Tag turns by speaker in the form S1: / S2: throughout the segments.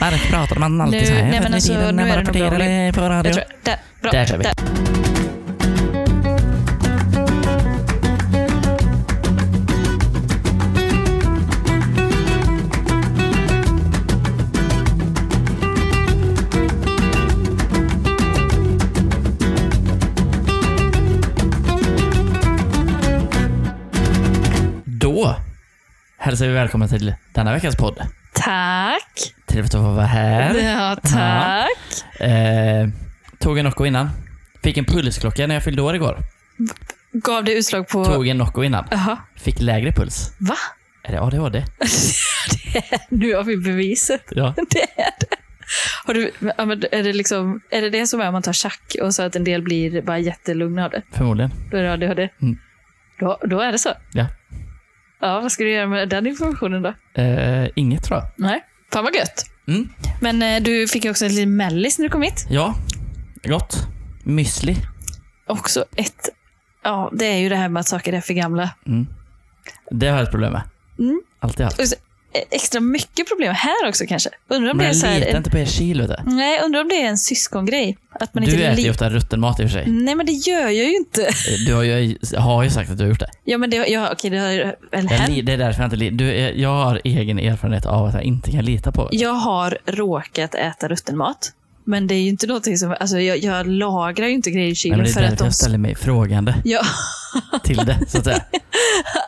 S1: Varför pratar man alltid
S2: Nu-
S1: så här?
S2: nej, men
S1: förr i
S2: alltså,
S1: tiden
S2: nu är
S1: när man
S2: det nog bra
S1: rapporterade på radio.
S2: Jag tror, där, bra.
S1: Där kör vi. Då hälsar vi välkommen till denna veckas podd.
S2: Tack.
S1: Trevligt att få vara här.
S2: Ja, tack.
S1: Eh, tog en Nocco innan. Fick en pulsklocka när jag fyllde år igår.
S2: Gav det utslag på...
S1: Tog en Nocco innan.
S2: Jaha.
S1: Fick lägre puls.
S2: Va?
S1: Är det ADHD?
S2: Nu har vi beviset.
S1: Ja.
S2: Det är det. Har du, ja, men är, det liksom, är det det som är om man tar schack och så att en del blir bara jättelugna av det?
S1: Förmodligen.
S2: Då är det ADHD?
S1: Mm.
S2: Då, då är det så.
S1: Ja.
S2: Ja, vad ska du göra med den informationen då?
S1: Eh, inget tror jag.
S2: Nej. Fan vad gött.
S1: Mm.
S2: Men eh, du fick ju också en liten mellis när du kom hit.
S1: Ja, gott. Müsli.
S2: Också ett... Ja, det är ju det här med att saker är för gamla.
S1: Det har jag ett problem med.
S2: Mm.
S1: Alltid haft.
S2: Och så, eh, Extra mycket problem här också kanske. Undrar om,
S1: Men
S2: det är,
S1: jag
S2: så här,
S1: litar
S2: en,
S1: inte på er kyl. Vet du
S2: nej, undrar om det är en syskongrej. Att man
S1: du
S2: inte
S1: äter ju
S2: li-
S1: ofta rutten mat i och för sig.
S2: Nej, men det gör jag ju inte.
S1: Du har ju, har ju sagt att du har gjort det.
S2: Ja, men det, ja, okej, det har ju väl
S1: Jag,
S2: hänt.
S1: li- det är därför jag inte li- du, är- Jag har egen erfarenhet av att jag inte kan lita på er.
S2: Jag har råkat äta rutten mat. Men det är ju inte någonting som... Alltså, jag, jag lagrar ju inte grejer i
S1: Nej,
S2: kylen
S1: men det är
S2: för att
S1: därför
S2: de...
S1: jag ställer mig frågande
S2: Ja,
S1: till det. Så att säga.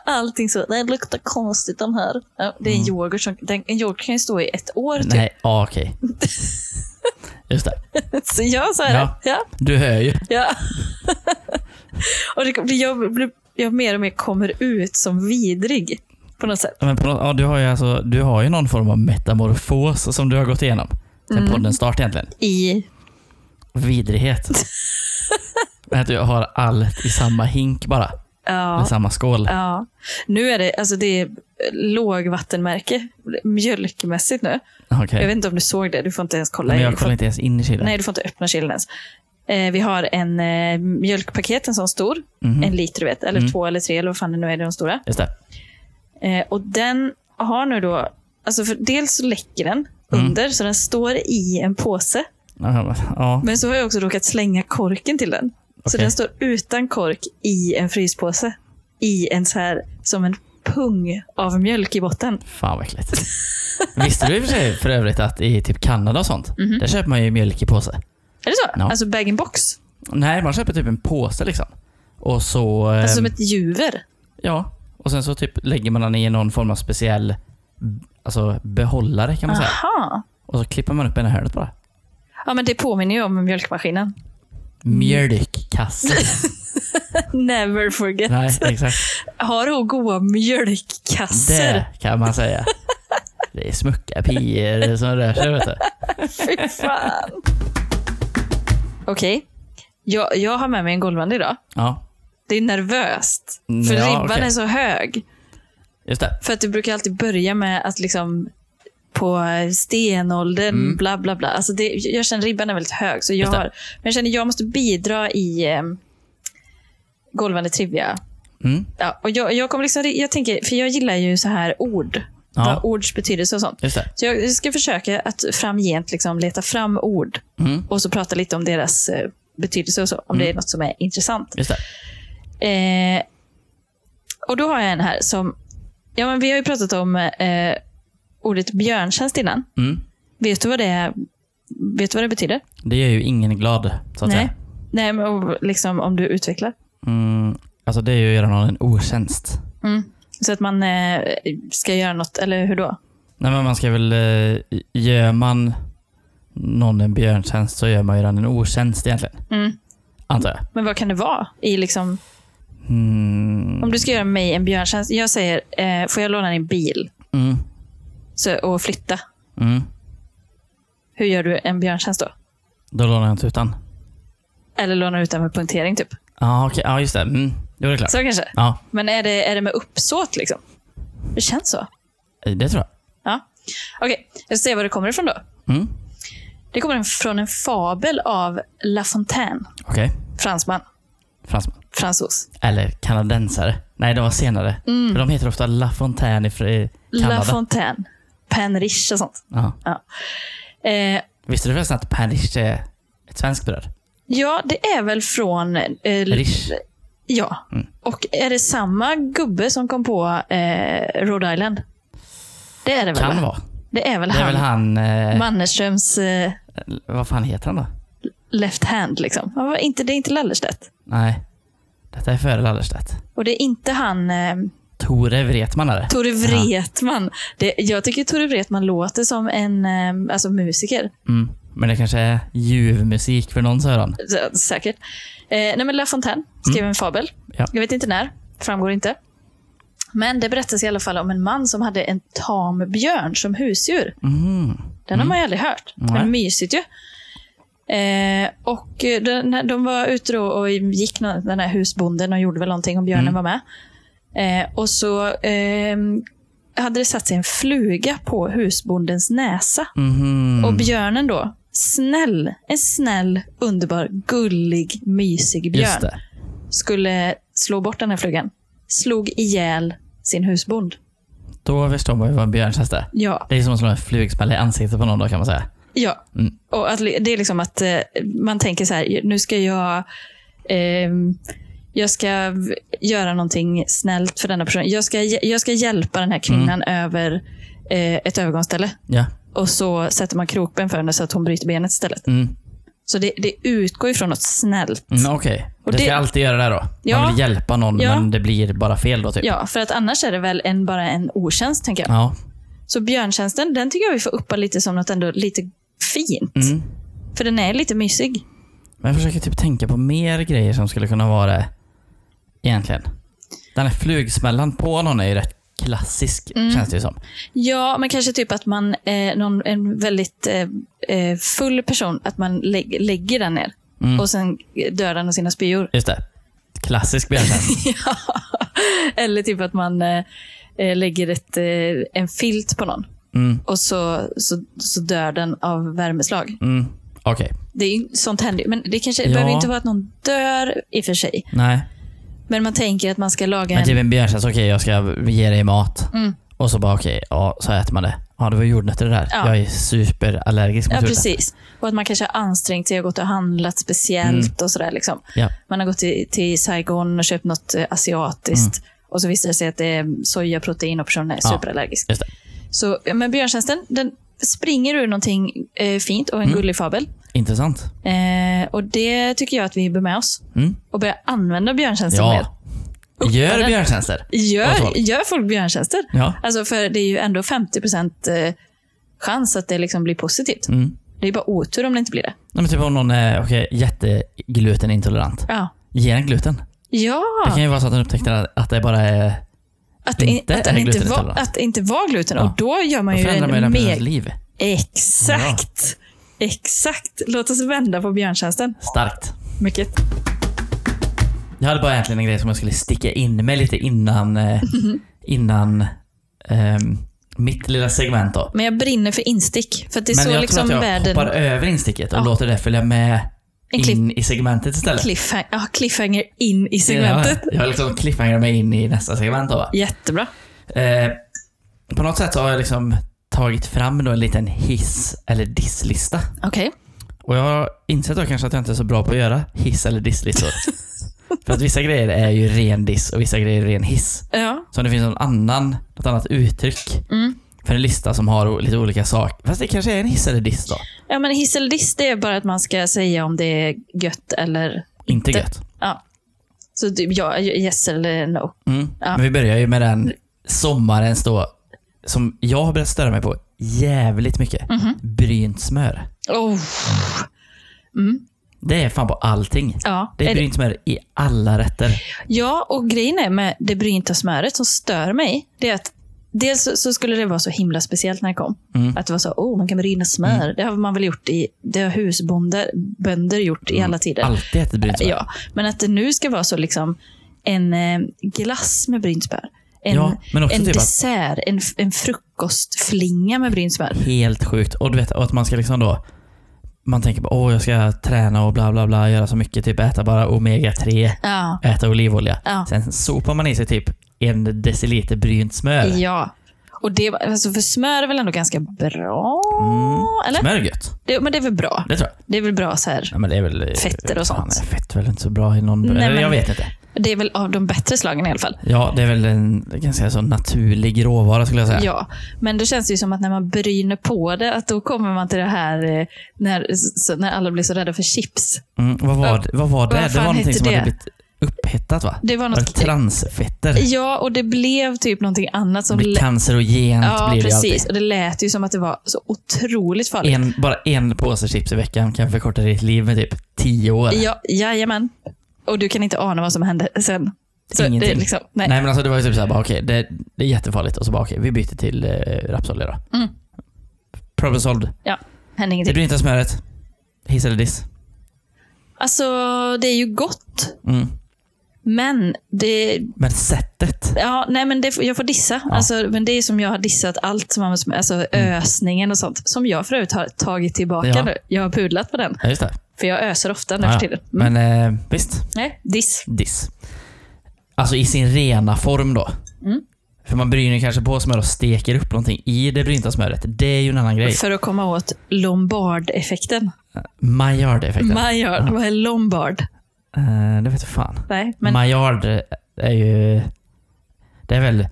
S2: allting så. Det luktar konstigt de här. Ja, det är
S1: Mm.
S2: en yoghurt som... Den, en yoghurt kan ju stå i ett år typ.
S1: Nej, ja, okej. Just det.
S2: Så ja, så är det.
S1: Ja.
S2: Ja.
S1: Du hör ju.
S2: Ja. och det, det- jag, blir- jag mer och mer kommer ut som vidrig. På något sätt.
S1: Ja, Men på något, ja, du, har ju alltså, du har ju någon form av metamorfos som du har gått igenom. Sen
S2: Mm.
S1: podden start egentligen.
S2: I...
S1: Vidrighet. Men att jag har allt i samma hink bara. Eller
S2: Ja.
S1: samma skål.
S2: ja. Nu är det, alltså det är lågvattenmärke. Mjölkmässigt nu.
S1: Okej.
S2: Jag vet inte om du såg det. Du får inte ens kolla.
S1: Men
S2: i-
S1: jag
S2: du får,
S1: kollar inte ens in i kylen.
S2: nej, du får inte öppna kylen ens. Eh, vi har en eh, mjölkpaket, en sån stor.
S1: Mhm.
S2: En liter, du vet. Eller två eller tre, eller vad fan det nu är, de stora.
S1: Just det.
S2: Eh, och den har nu då... Alltså för dels så läcker den
S1: Mm.
S2: under, så den står i en påse.
S1: Ja, men- Ja.
S2: Men så har jag också råkat slänga korken till den. Så
S1: Okej.
S2: den står utan kork i en fryspåse. I en så här, som en pung av mjölk i botten.
S1: Fan vad äckligt. Visste du i och för sig för övrigt att i typ Kanada och sånt,
S2: Mhm.
S1: där köper man ju mjölk i påse.
S2: Är det så?
S1: Ja.
S2: Alltså bag-in-box.
S1: Nej, man köper typ en påse liksom. Och så...
S2: Alltså som
S1: ehm,
S2: ett juver.
S1: Ja, och sen så typ lägger man den i någon form av speciell alltså behållare kan man
S2: Ah.
S1: säga.
S2: Aha.
S1: Och så klipper man upp en hölet bara.
S2: Ja, men det påminner ju om mjölkmaskinen.
S1: Mjölkkasse.
S2: Mm. Never forget.
S1: Nej, exakt.
S2: Har hon goa mjölkkasser?
S1: Det kan man säga. Det är smucka pior som rör sig. Vet du.
S2: Fy fan. Okej. Jag, jag har med mig en golvande idag.
S1: Ja,
S2: Det är nervöst. För
S1: Ja,
S2: ribban
S1: okej.
S2: är så hög.
S1: just det.
S2: För att du brukar alltid börja med att liksom på stenåldern, bla bla bla. Alltså det, jag känner ribban är väldigt hög. Så jag
S1: Mm. Just det.
S2: har, men jag känner jag måste bidra i eh, golvande trivia.
S1: Mm.
S2: Ja, och jag, jag, kommer liksom, jag tänker, för jag gillar ju så här ord.
S1: Ja.
S2: Vad ords betydelse och sånt.
S1: Just det.
S2: Så jag ska försöka att framgent liksom leta fram ord
S1: Mm.
S2: och så prata lite om deras eh, betydelse och så. Om det är något som är intressant.
S1: Just det.
S2: Eh, och då har jag en här som... Ja, men vi har ju pratat om eh, ordet björntjänst innan.
S1: Mm.
S2: Vet du vad det, vet du vad det betyder?
S1: Det gör ju ingen glad, så att
S2: Nej.
S1: säga.
S2: Nej, men och liksom, om du utvecklar.
S1: Mm. Alltså det är ju att göra någon en otjänst.
S2: Mm. Så att man eh, ska göra något, eller hur då?
S1: Nej men man ska väl, eh, gör man någon en björntjänst så gör man ju den en otjänst egentligen.
S2: Mm.
S1: Antar jag.
S2: Men vad kan det vara? I liksom,
S1: Mm.
S2: om du ska göra mig en björntjänst. Jag säger, eh, får jag låna din bil
S1: Mm.
S2: så, och flytta?
S1: Mm.
S2: Hur gör du en björntjänst då?
S1: Då lånar jag tutan.
S2: Eller låna ut den med punktering typ.
S1: Ja, ah, okej. Ja, just det. Mm. Jo, det är klart.
S2: Så kanske.
S1: Ja,
S2: Men är det, är det med uppsåt liksom? Det känns så.
S1: eh, det tror
S2: Ja. Okej, jag ska se var det kommer ifrån då.
S1: jag. Mm.
S2: Det kommer från en fabel av La Fontaine.
S1: Okej.
S2: Fransman.
S1: Fransman.
S2: Fransos.
S1: Eller kanadensare. Nej, de var senare.
S2: Mm.
S1: För de heter ofta La Fontaine i Fr- i Kanada.
S2: La Fontaine. Penriche och sånt.
S1: ja.
S2: Ja. Eh,
S1: Visste du förresten att panrish är ett svenskt bröd?
S2: ja, det är väl från... Eh,
S1: Rish.
S2: ja.
S1: Mm.
S2: Och är det samma gubbe som kom på eh, Rhode Island? Det är det väl?
S1: Kan
S2: va?
S1: vara.
S2: Det är väl
S1: Det är
S2: han.
S1: väl han... Eh,
S2: Mannerströms eh,
S1: vad fan heter han då?
S2: left hand. Liksom. Han var inte, det är inte Lallerstedt.
S1: Nej. Detta är före Lallerstedt.
S2: Och det är inte han... Eh,
S1: Tore Wretman är det.
S2: Tore Wretman. Det, jag tycker Tore Wretman låter som en eh, alltså musiker.
S1: Mm. Men det kanske är ljuv musik för någons öron.
S2: S- Säkert. Eh, nej, men La Fontaine skrev en fabel.
S1: Mm. Ja.
S2: Jag vet inte när. Framgår inte. Men det berättas i alla fall om en man som hade en tam björn som husdjur.
S1: Mm.
S2: Den har man ju aldrig hört.
S1: Nej.
S2: Men mysigt ju. Eh, och eh, den, här- de var ute då och gick, nå- den här husbonden, och gjorde väl någonting om björnen
S1: Mm.
S2: var med. Eh, och så ehm, hade det satt sig en fluga på husbondens näsa.
S1: Mhm.
S2: Och björnen då, snäll, en snäll, underbar, gullig, mysig
S1: Just
S2: björn,
S1: det.
S2: skulle slå bort den här flugan. Slog ihjäl sin husbond.
S1: Då förstår man ju vad en björntjänst är.
S2: Ja,
S1: Det är som att slå en flugsmäll i ansiktet på någon då kan man säga.
S2: Ja,
S1: Mm.
S2: och att, li- det är liksom att eh, man tänker så här, nu ska jag ehm, jag ska v- göra någonting snällt för denna personen. Jag ska, hj- jag ska hjälpa den här kvinnan
S1: Mm.
S2: över eh, ett övergångsställe.
S1: Ja.
S2: Och så sätter man krokben för henne så att hon bryter benet istället.
S1: Mm.
S2: Så det, det utgår ifrån något snällt.
S1: Mm, Okej.
S2: Och
S1: Det ska
S2: det-
S1: jag alltid göra där då.
S2: Ja.
S1: Man vill hjälpa någon
S2: Ja.
S1: men det blir bara fel då typ.
S2: Ja, för att annars är det väl en, bara en otjänst, tänker jag.
S1: Ja.
S2: Så björntjänsten, den tycker jag vi får uppa lite som något ändå lite fint.
S1: Mm.
S2: För den är lite mysig.
S1: Men jag försöker typ tänka på mer grejer som skulle kunna vara det. Egentligen. Den här flugsmällan på någon är ju rätt klassisk
S2: Mm.
S1: känns det ju som.
S2: Ja, men kanske typ att man, eh, någon, en väldigt eh, eh, full person, att man lä- lägger den ner.
S1: Mm.
S2: Och sen dör den av sina spyor.
S1: Just det. Klassisk björntjänst.
S2: Eller typ att man eh, eh, lägger ett, eh, en filt på någon.
S1: Mm.
S2: Och så, så, så dör den av värmeslag.
S1: Mm. Okej.
S2: Det är, ju- sånt händer ju. Men det kanske
S1: Ja.
S2: behöver inte vara att någon dör i och för sig.
S1: Nej.
S2: Men man tänker att man ska laga
S1: Men
S2: en...
S1: typ en björntjänst, okej jag ska ge dig mat.
S2: Mm.
S1: Och så bara okej, ja, så äter man det. Ja, det var jordnötter det där.
S2: Ja.
S1: Jag är superallergisk mot
S2: Ja,
S1: jordnötter.
S2: precis. Och att man kanske har ansträngt sig och gått och handlat speciellt
S1: Mm.
S2: och sådär. Liksom.
S1: Ja.
S2: Man har gått till, till Saigon och köpt något eh, asiatiskt. Och så visar det sig att det är sojaprotein och personen är
S1: Mm. Ja,
S2: superallergisk.
S1: just det.
S2: Så, eh, men björntjänsten, den springer ur någonting eh, fint
S1: Mm.
S2: och en gullig fabel.
S1: Intressant.
S2: Eh, och det tycker jag att vi bör med oss.
S1: Mm.
S2: Och börja använda björntjänsten mer.
S1: Ja. Gör
S2: den.
S1: björntjänster. Åt
S2: Gör,
S1: folk.
S2: gör folk björntjänster?
S1: Ja.
S2: Alltså för det är ju ändå 50 eh, chans att det liksom blir positivt.
S1: Mm.
S2: Det är bara otur om det inte blir det.
S1: Nej, men typ om någon är okay, jätteglutenintolerant.
S2: Ja.
S1: Ge den gluten.
S2: Ja,
S1: Det kan ju vara så att den upptäckte att- att det bara är...
S2: att, det
S1: inte
S2: att,
S1: är
S2: den inte var,
S1: glutenintolerant.
S2: att det inte var gluten.
S1: Ja.
S2: Och då gör man
S1: Då
S2: ju
S1: förändrar
S2: en
S1: man ju den personens
S2: mer...
S1: liv.
S2: Exakt! Exakt! Låt oss vända på björntjänsten.
S1: Starkt.
S2: Mycket.
S1: Jag hade bara egentligen en grej som jag skulle sticka in med lite innan, eh, innan ehm, mitt lilla segment då.
S2: Men jag brinner för instick. För att det är
S1: Men
S2: så
S1: jag
S2: liksom
S1: tror att jag hoppar
S2: världen...
S1: över insticket och
S2: Ja.
S1: låter det följa med
S2: En cliff-
S1: in i segmentet istället.
S2: Cliffhanger, ja, cliffhanger in i segmentet.
S1: Jag, jag liksom cliffhangar mig in i nästa segment då. va?
S2: Jättebra.
S1: Eh, på något sätt så har jag liksom tagit fram då en liten hiss eller disslista.
S2: Okej.
S1: Och jag har insett då kanske att jag inte är så bra på att göra hiss eller disslistor. För att vissa grejer är ju ren diss och vissa grejer är ren hiss.
S2: Ja.
S1: Så om det finns någon annan, något annat uttryck
S2: Mm.
S1: för en lista som har o- lite olika saker. Fast det kanske är en hiss eller diss då?
S2: ja, men hiss eller diss, det är bara att man ska säga om det är gött eller...
S1: Inte
S2: Det-
S1: gött.
S2: Ja. Så typ, ja, yes eller no.
S1: Mm.
S2: Ja.
S1: Men vi börjar ju med den sommarens då, som jag har börjat störa mig på jävligt mycket.
S2: Mhm.
S1: Brynt smör.
S2: Oh.
S1: Det är fan på allting.
S2: Ja.
S1: Det är
S2: Är det-
S1: brynt smör i alla rätter.
S2: Ja, och grejen är med det brynta smöret som stör mig, det är att dels så- så skulle det vara så himla speciellt när det kom.
S1: Mm.
S2: Att det var så, oh, man kan bryna smör. Det har man väl gjort i, det har husbonder bönder gjort i alla tider.
S1: Alltid ätit brynt Mm. smör.
S2: Ja, men att det nu ska vara så liksom en eh, glass med brynt smör. En,
S1: Ja, men också
S2: en
S1: typ att-
S2: dessert, en, f- en frukostflinga med brynt smör.
S1: Helt sjukt. Och du vet, och att man ska liksom då man tänker på åh jag ska träna och bla bla bla, göra så mycket, typ äta bara omega-3,
S2: Ja.
S1: äta olivolja.
S2: Ja.
S1: Sen sopar man i sig typ en deciliter brynt smör.
S2: ja. Och Och det, var- alltså för smör är väl ändå ganska bra? Eller?
S1: Mm. Smör är gött.
S2: Det, men det är väl bra?
S1: Det tror jag.
S2: Det är väl bra så här.
S1: Ja, men det är väl, eh,
S2: Fetter och
S1: Fan,
S2: sånt.
S1: är Fett är väl inte så bra i någon...
S2: Nej,
S1: eller,
S2: men-
S1: Jag vet inte.
S2: Det är väl av de bättre slagen i alla fall.
S1: Ja, det är väl en ganska så naturlig råvara skulle jag säga.
S2: Ja, men då känns det ju som att när man bryner på det, att då kommer man till det här eh, när, så, när alla blir så rädda för chips.
S1: Mm, vad, var,
S2: Ja.
S1: det- vad var det?
S2: Vad
S1: det
S2: fan
S1: var någonting
S2: hette
S1: som hade
S2: det?
S1: blivit upphettat va?
S2: Det var något-
S1: det transfetter.
S2: Ja, och det blev typ någonting annat
S1: Det
S2: som...
S1: blir
S2: lä-
S1: cancerogent
S2: Ja,
S1: blir det ju
S2: precis. Och det lät ju som att det var så otroligt farligt.
S1: alltid. En, bara en påse chips i veckan kan förkorta ditt liv med typ tio år.
S2: Ja, jajamän. Och du kan inte ana vad som hände sen. Så
S1: Ingenting.
S2: Det, är liksom, nej.
S1: Nej men alltså det var ju typ såhär, bara, okej det, det är jättefarligt och så bara okej, vi byter till eh, rapsolja då.
S2: Mm.
S1: Problem solved.
S2: Ja, hände
S1: Är
S2: ingenting.
S1: du inte av smöret? Hiss eller diss?
S2: Alltså, det är ju gott.
S1: Mm.
S2: Men det...
S1: Men sättet.
S2: Ja, nej, men det, jag får dissa. Alltså, men det är som jag har dissat allt som har med sm- alltså, ösningen och sånt. Som jag för övrigt har tagit tillbaka
S1: Mm. Ja.
S2: nu. Jag har pudlat på den.
S1: Ja just det.
S2: För jag öser ofta nu
S1: Ja,
S2: för
S1: ja.
S2: tiden. Mm.
S1: Men eh, visst,
S2: Nej, diss.
S1: diss. Alltså i sin rena form då.
S2: Mm.
S1: För man bryner kanske på smör och steker upp någonting i det brynta smöret. Det är ju en annan grej.
S2: För att komma åt Lombard-effekten.
S1: Maillard-effekten.
S2: Maillard. Vad är Lombard?
S1: Eh, det vet jag fan.
S2: Nej, men
S1: Maillard är ju... Det är väl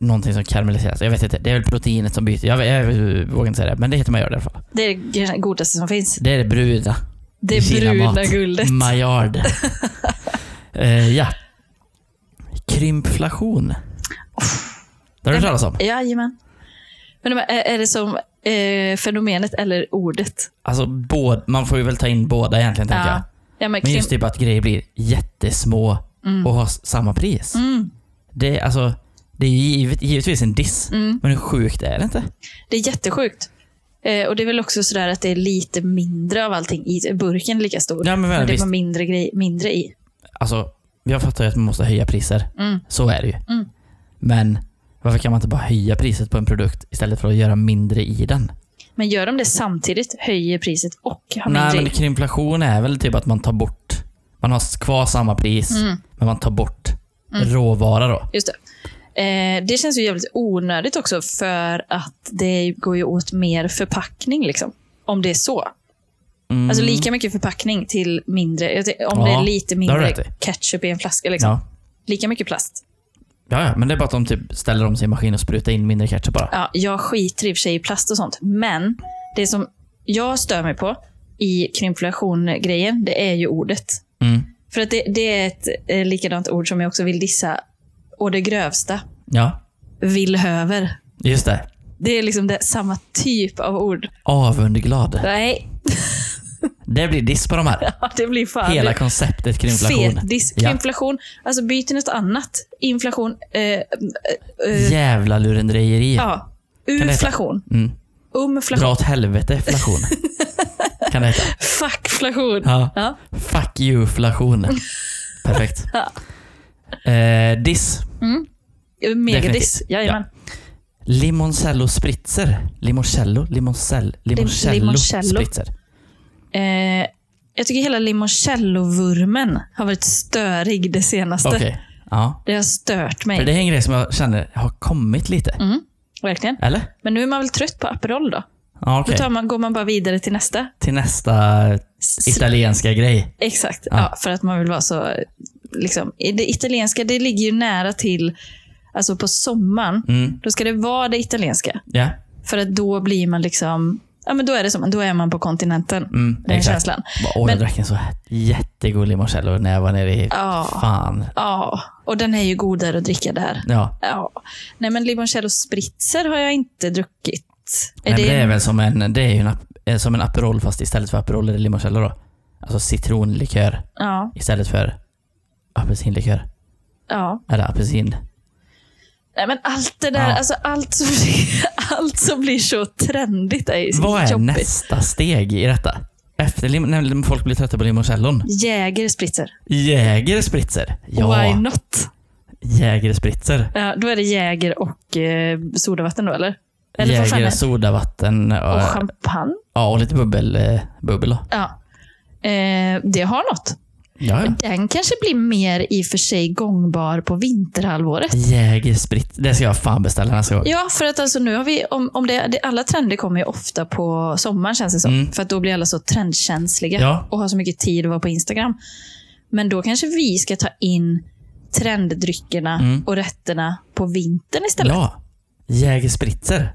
S1: någonting som karamelliseras. Jag vet inte. Det är väl proteinet som byter. Jag, jag, vågar inte säga det, men det heter maillard i alla fall.
S2: det är det godaste som finns.
S1: Det är det bruna. i
S2: Det
S1: Kina-mat.
S2: bruna guldet.
S1: Maillard. Eh, ja. Krympflation. Det har du hört talas om?
S2: Jajamän. Men de här, är, är det som eh, fenomenet eller ordet?
S1: Alltså, båd, man får ju väl ta in båda egentligen, tänker jag.
S2: ja men
S1: Men
S2: krim-
S1: just typ att grejer blir jättesmå och har s- samma pris.
S2: Mm.
S1: Det, är alltså, det är ju givet, givetvis en diss,
S2: Mm.
S1: men hur sjukt är det inte?
S2: det är jättesjukt. Eh, och det är väl också sådär att det är lite mindre av allting i burken är lika stor.
S1: Ja, men väl,
S2: det
S1: visst.
S2: var mindre, grej, mindre i.
S1: Alltså, jag fattar ju att man måste höja priser.
S2: Mm.
S1: Så är det ju.
S2: Mm.
S1: Men varför kan man inte bara höja priset på en produkt istället för att göra mindre i den?
S2: Men gör de det samtidigt, höjer priset och har
S1: Nej, men
S2: mindre i.
S1: krympflation är väl typ att man tar bort... Man har kvar samma pris,
S2: Mm.
S1: men man tar bort råvara då.
S2: Just det. Eh, det känns ju jävligt onödigt också för att det går ju åt mer förpackning. Liksom, om det är så.
S1: Mm.
S2: Alltså lika mycket förpackning till mindre. jag tänk- Om det
S1: Ja,
S2: är
S1: det
S2: lite
S1: har du
S2: mindre
S1: rätt i.
S2: ketchup i en flaska. Liksom.
S1: ja.
S2: Lika mycket plast.
S1: Ja, ja, men det är bara att de typ ställer om sin maskin och sprutar in mindre ketchup bara.
S2: Ja, jag skiter i och för sig i plast och sånt. Men det som jag stör mig på i krympflation-grejen, det är ju ordet.
S1: Mm.
S2: För att det, det är ett eh, likadant ord som jag också vill dissa. Och det grövsta.
S1: Ja,
S2: Villhöver.
S1: just det.
S2: Det är liksom det, samma typ av ord.
S1: Avundglad.
S2: Nej,
S1: Det blir diss på de här.
S2: ja, det blir fan...
S1: Hela konceptet kring inflation.
S2: Fetdisk,
S1: Ja.
S2: krympflation. Alltså byt till något annat. Inflation. Eh, eh, eh,
S1: Jävla lurendrejeri.
S2: ja.
S1: heta?
S2: Uflation.
S1: Mm. Dra
S2: Umflation.
S1: åt helvete flation. kan det heta.
S2: Fuckflation.
S1: Ja.
S2: Ja.
S1: Fuck you-flation. Perfekt.
S2: Ja.
S1: Eh, diss.
S2: Megadiss. Jajamän.
S1: Limoncello spritzer. Limoncello? Limoncell, limoncello,
S2: limoncello.
S1: spritzer.
S2: Eh, jag tycker hela limoncello-vurmen har varit störig det senaste.
S1: Okej. Ja.
S2: Det har stört
S1: För
S2: mig.
S1: det är en grej som jag känner har kommit lite.
S2: Mm, verkligen.
S1: Eller?
S2: Men nu är man väl trött på Aperol då?
S1: Ja, okej.
S2: Då tar man, går man bara vidare till nästa.
S1: Till nästa
S2: S-
S1: italienska grej.
S2: Exakt. Ja. för att man vill vara så... Liksom, i det italienska det ligger ju nära till... Alltså på sommaren,
S1: Mm.
S2: då ska det vara det italienska.
S1: Ja.
S2: För att då blir man liksom... Ja, men då är det som, då är man på kontinenten.
S1: Mm,
S2: den
S1: exakt.
S2: känslan.
S1: Bara, Åh, jag
S2: Men-
S1: drack en så här jättegod limoncello när jag var nere i...
S2: Ja.
S1: Fan.
S2: Ja, och den är ju godare att dricka där.
S1: Ja.
S2: Ja. Nej, men limoncello spritzer har jag inte druckit.
S1: Nej, men det... är väl som en, det är ju en, ap- eh, som en Aperol fast istället för Aperol är det limoncello då. Alltså citronlikör
S2: Ja,
S1: istället för apelsinlikör.
S2: ja.
S1: Eller apelsin.
S2: Nej, men allt det där,
S1: Ja.
S2: alltså allt som, blir, allt som blir så trendigt är ju så
S1: Vad är
S2: jobbigt.
S1: nästa steg i detta? Efter lim- när folk blir trötta på limoncellon.
S2: Jäger spritzer.
S1: Jäger spritzer.
S2: Why
S1: Ja,
S2: not?
S1: Jäger spritzer.
S2: Ja, då är det Jäger och eh, sodavatten då, eller? eller vad fan är
S1: Jäger,
S2: det?
S1: sodavatten och,
S2: Och champagne?
S1: ja, och lite bubbel, eh, bubbel då.
S2: Ja. Eh, det har något.
S1: Ja, ja.
S2: Den kanske blir mer i och för sig gångbar på vinterhalvåret.
S1: Jägersprit. Det ska jag fan beställa nästa gång.
S2: Ja, för att alltså nu har vi, om, om det, det, alla trender kommer ju ofta på sommaren känns det som.
S1: Mm.
S2: För att då blir alla så trendkänsliga
S1: Ja.
S2: och har så mycket tid att vara på Instagram. Men då kanske vi ska ta in trenddryckerna
S1: Mm.
S2: och rätterna på vintern istället.
S1: Ja. Jägerspritzer.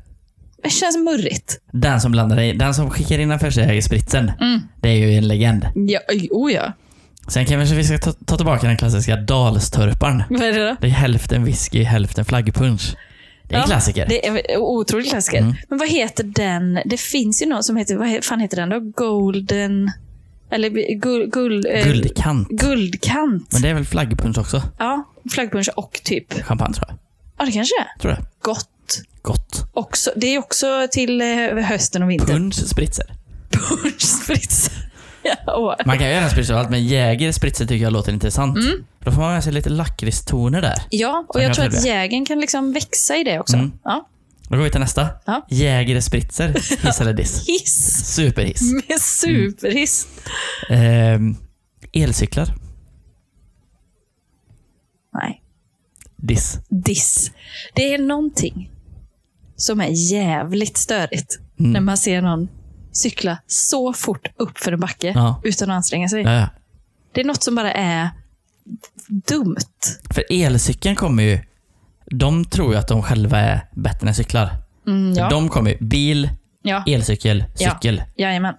S2: Det känns murrigt.
S1: Den som blandar i, den som skickar in den första jägerspritsen.
S2: Mm.
S1: Det är ju en legend.
S2: Ja, oj, oh ja.
S1: Sen kanske vi ska ta, ta tillbaka den klassiska dalstörparen.
S2: Vad är det då?
S1: Det är hälften whisky, hälften flaggpunsch. Det är en
S2: Ja,
S1: klassiker.
S2: Det är en otrolig klassiker.
S1: Mm.
S2: Men vad heter den? Det finns ju någon som heter, vad he- fan heter den då? Golden... Eller guld... Guld, eh,
S1: Guldkant.
S2: guldkant.
S1: Men det är väl flaggpunsch också?
S2: Ja, flaggpunsch och typ...
S1: Champagne tror jag.
S2: Ja, det kanske är.
S1: Tror det.
S2: Gott.
S1: Gott.
S2: Också, det är också till eh, hösten och vintern.
S1: Punsch spritzer.
S2: Punschsprits. ja, åh.
S1: Man kan ju göra en spritzer och allt, men jäger spritzer tycker jag låter intressant.
S2: Mm.
S1: Då får man med sig lite lakritstoner där.
S2: ja, och
S1: Sen
S2: jag
S1: jag
S2: tror
S1: tror
S2: att
S1: det.
S2: jägen kan liksom växa i det också.
S1: Mm.
S2: Ja.
S1: Då går vi till nästa.
S2: Ja.
S1: Jäger spritzer. Hiss eller diss?
S2: Hiss.
S1: Superhiss.
S2: Med superhiss.
S1: Ehm, elcyklar.
S2: Nej.
S1: Diss.
S2: diss. Det är någonting som är jävligt störigt
S1: Mm.
S2: när man ser någon cykla så fort upp för en backe
S1: Ja.
S2: utan att anstränga sig.
S1: Ja, ja.
S2: Det är något som bara är dumt.
S1: För elcykeln kommer ju... De tror ju att de själva är bättre än cyklar.
S2: Mm, ja.
S1: De E- kommer ju bil,
S2: ja.
S1: elcykel,
S2: Ja.
S1: cykel.
S2: Jajamän.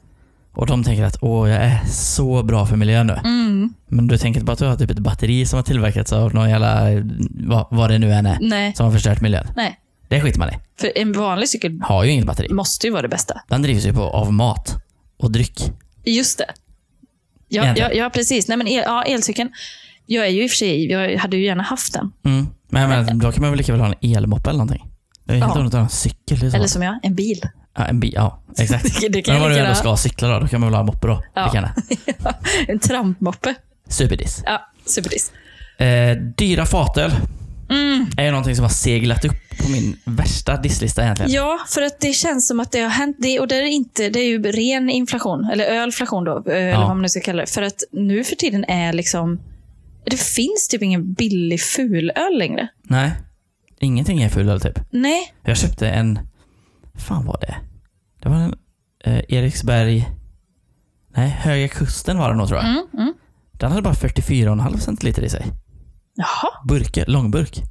S1: Och de tänker att åh, jag är så bra för miljön nu.
S2: Mm.
S1: Men du tänker inte på att du har typ ett batteri som har tillverkats av någon jävla, vad, vad det nu än är,
S2: Nej.
S1: som har förstört miljön.
S2: Nej.
S1: Det skiter man i.
S2: För en vanlig cykel
S1: Har ju inget batteri.
S2: måste ju vara det bästa.
S1: Den drivs ju på av mat och dryck.
S2: Just det. Ja, ja,
S1: Egentligen.
S2: ja precis. Nej, men el, ja, elcykeln. Jag är ju i och för sig, jag hade ju gärna haft den.
S1: Mm. Men jag menar, då kan man väl lika väl ha en elmoppe eller någonting. Det är helt
S2: Ja.
S1: onödigt att ha en cykel. Liksom.
S2: Eller som jag, en bil.
S1: ja, en bi- ja, exakt.
S2: Det, det kan
S1: Men
S2: jag
S1: vad du
S2: lika
S1: ändå ska
S2: gärna.
S1: cykla då, då kan man väl ha en moppe då.
S2: Ja.
S1: Ja. Gärna.
S2: En trampmoppe.
S1: Superdiss.
S2: Ja, superdiss.
S1: Eh, dyra fatöl
S2: Mm.
S1: är ju någonting som har seglat upp på min värsta disslista egentligen.
S2: Ja, för att det känns som att det har hänt. Det, och det är, inte, det är ju ren inflation, eller ölflation då, eh, eller vad man nu ska kalla det. För att nu för tiden är liksom... Det finns typ ingen billig fulöl längre.
S1: Nej. Ingenting är fulöl typ.
S2: Nej.
S1: Jag köpte en... fan var det? Det var en eh, Eriksberg... Nej, Höga Kusten var det nog tror jag.
S2: Mm, mm.
S1: Den hade bara 44,5 centiliter i sig.
S2: Jaha.
S1: Burke, långburk. Är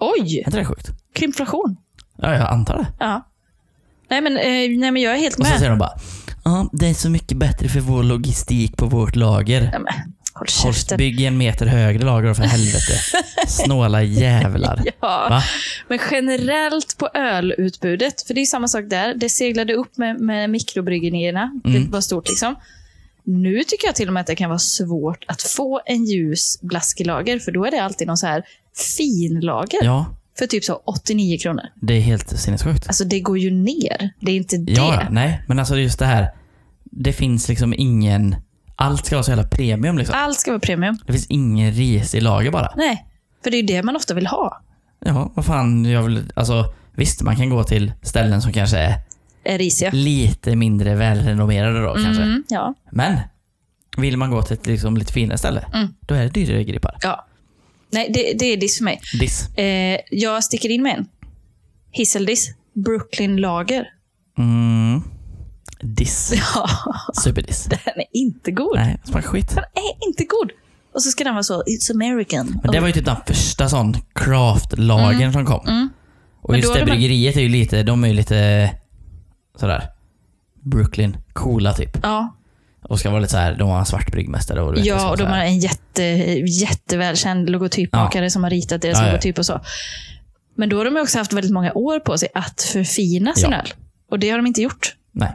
S2: Oj!
S1: inte det sjukt?
S2: Krimflation.
S1: Ja, jag antar det.
S2: Ja. Nej men, eh, nej, men jag är helt
S1: Och så
S2: med.
S1: säger de bara Ja, det är så mycket bättre för vår logistik på vårt lager.
S2: Nej, men, håll
S1: Horst,
S2: käften.
S1: bygg en meter högre lager då, för helvete. Snåla jävlar.
S2: Ja.
S1: Va?
S2: Men generellt på ölutbudet, för det är samma sak där. Det seglade upp med, med mikrobryggerierna. Det
S1: Mm.
S2: var stort liksom. Nu tycker jag till och med att det kan vara svårt att få en ljus blaskelager, för då är det alltid någon så här fin lager
S1: Ja,
S2: för typ så 89 kronor.
S1: det är helt sinnessjukt.
S2: Alltså det går ju ner. Det är inte det.
S1: Ja, nej. Men alltså det är just det här. Det finns liksom ingen... Allt ska vara så jävla premium liksom.
S2: Allt ska vara premium.
S1: Det finns ingen ris i lager bara.
S2: Nej, för det är ju det man ofta vill ha.
S1: Ja, vad fan. Jag vill, alltså, visst, man kan gå till ställen som kanske är
S2: Är risiga.
S1: lite mindre välrenommerade då kanske.
S2: Mm, ja.
S1: Men vill man gå till ett liksom, lite finare ställe,
S2: Mm.
S1: då är det dyrare gripar.
S2: ja. Nej, det, det är diss för mig.
S1: Diss.
S2: Eh, jag sticker in med en. Hisseldiss. Brooklyn Lager.
S1: Mm. Diss.
S2: Ja,
S1: Superdiss.
S2: den är inte god.
S1: Nej, smakar skit.
S2: Den är inte god. Och så ska den vara så, it's American.
S1: Men det var ju typ den första sån craft-lagen som kom.
S2: Mm.
S1: Och
S2: Men
S1: just
S2: då
S1: det,
S2: hade man-
S1: bryggeriet är ju lite, de är ju lite sådär Brooklyn, coola typ.
S2: Ja,
S1: Och ska vara lite såhär, de har en svart bryggmästare och du vet, det ska
S2: ja
S1: vara
S2: och de
S1: såhär.
S2: har en jätte, jättevälkänd logotypmakare som har ritat deras
S1: Ja, ja.
S2: logotyp och så. Men då har de ju också haft väldigt många år på sig att förfina sin
S1: Ja.
S2: öl. Och det har de inte gjort.
S1: Nej.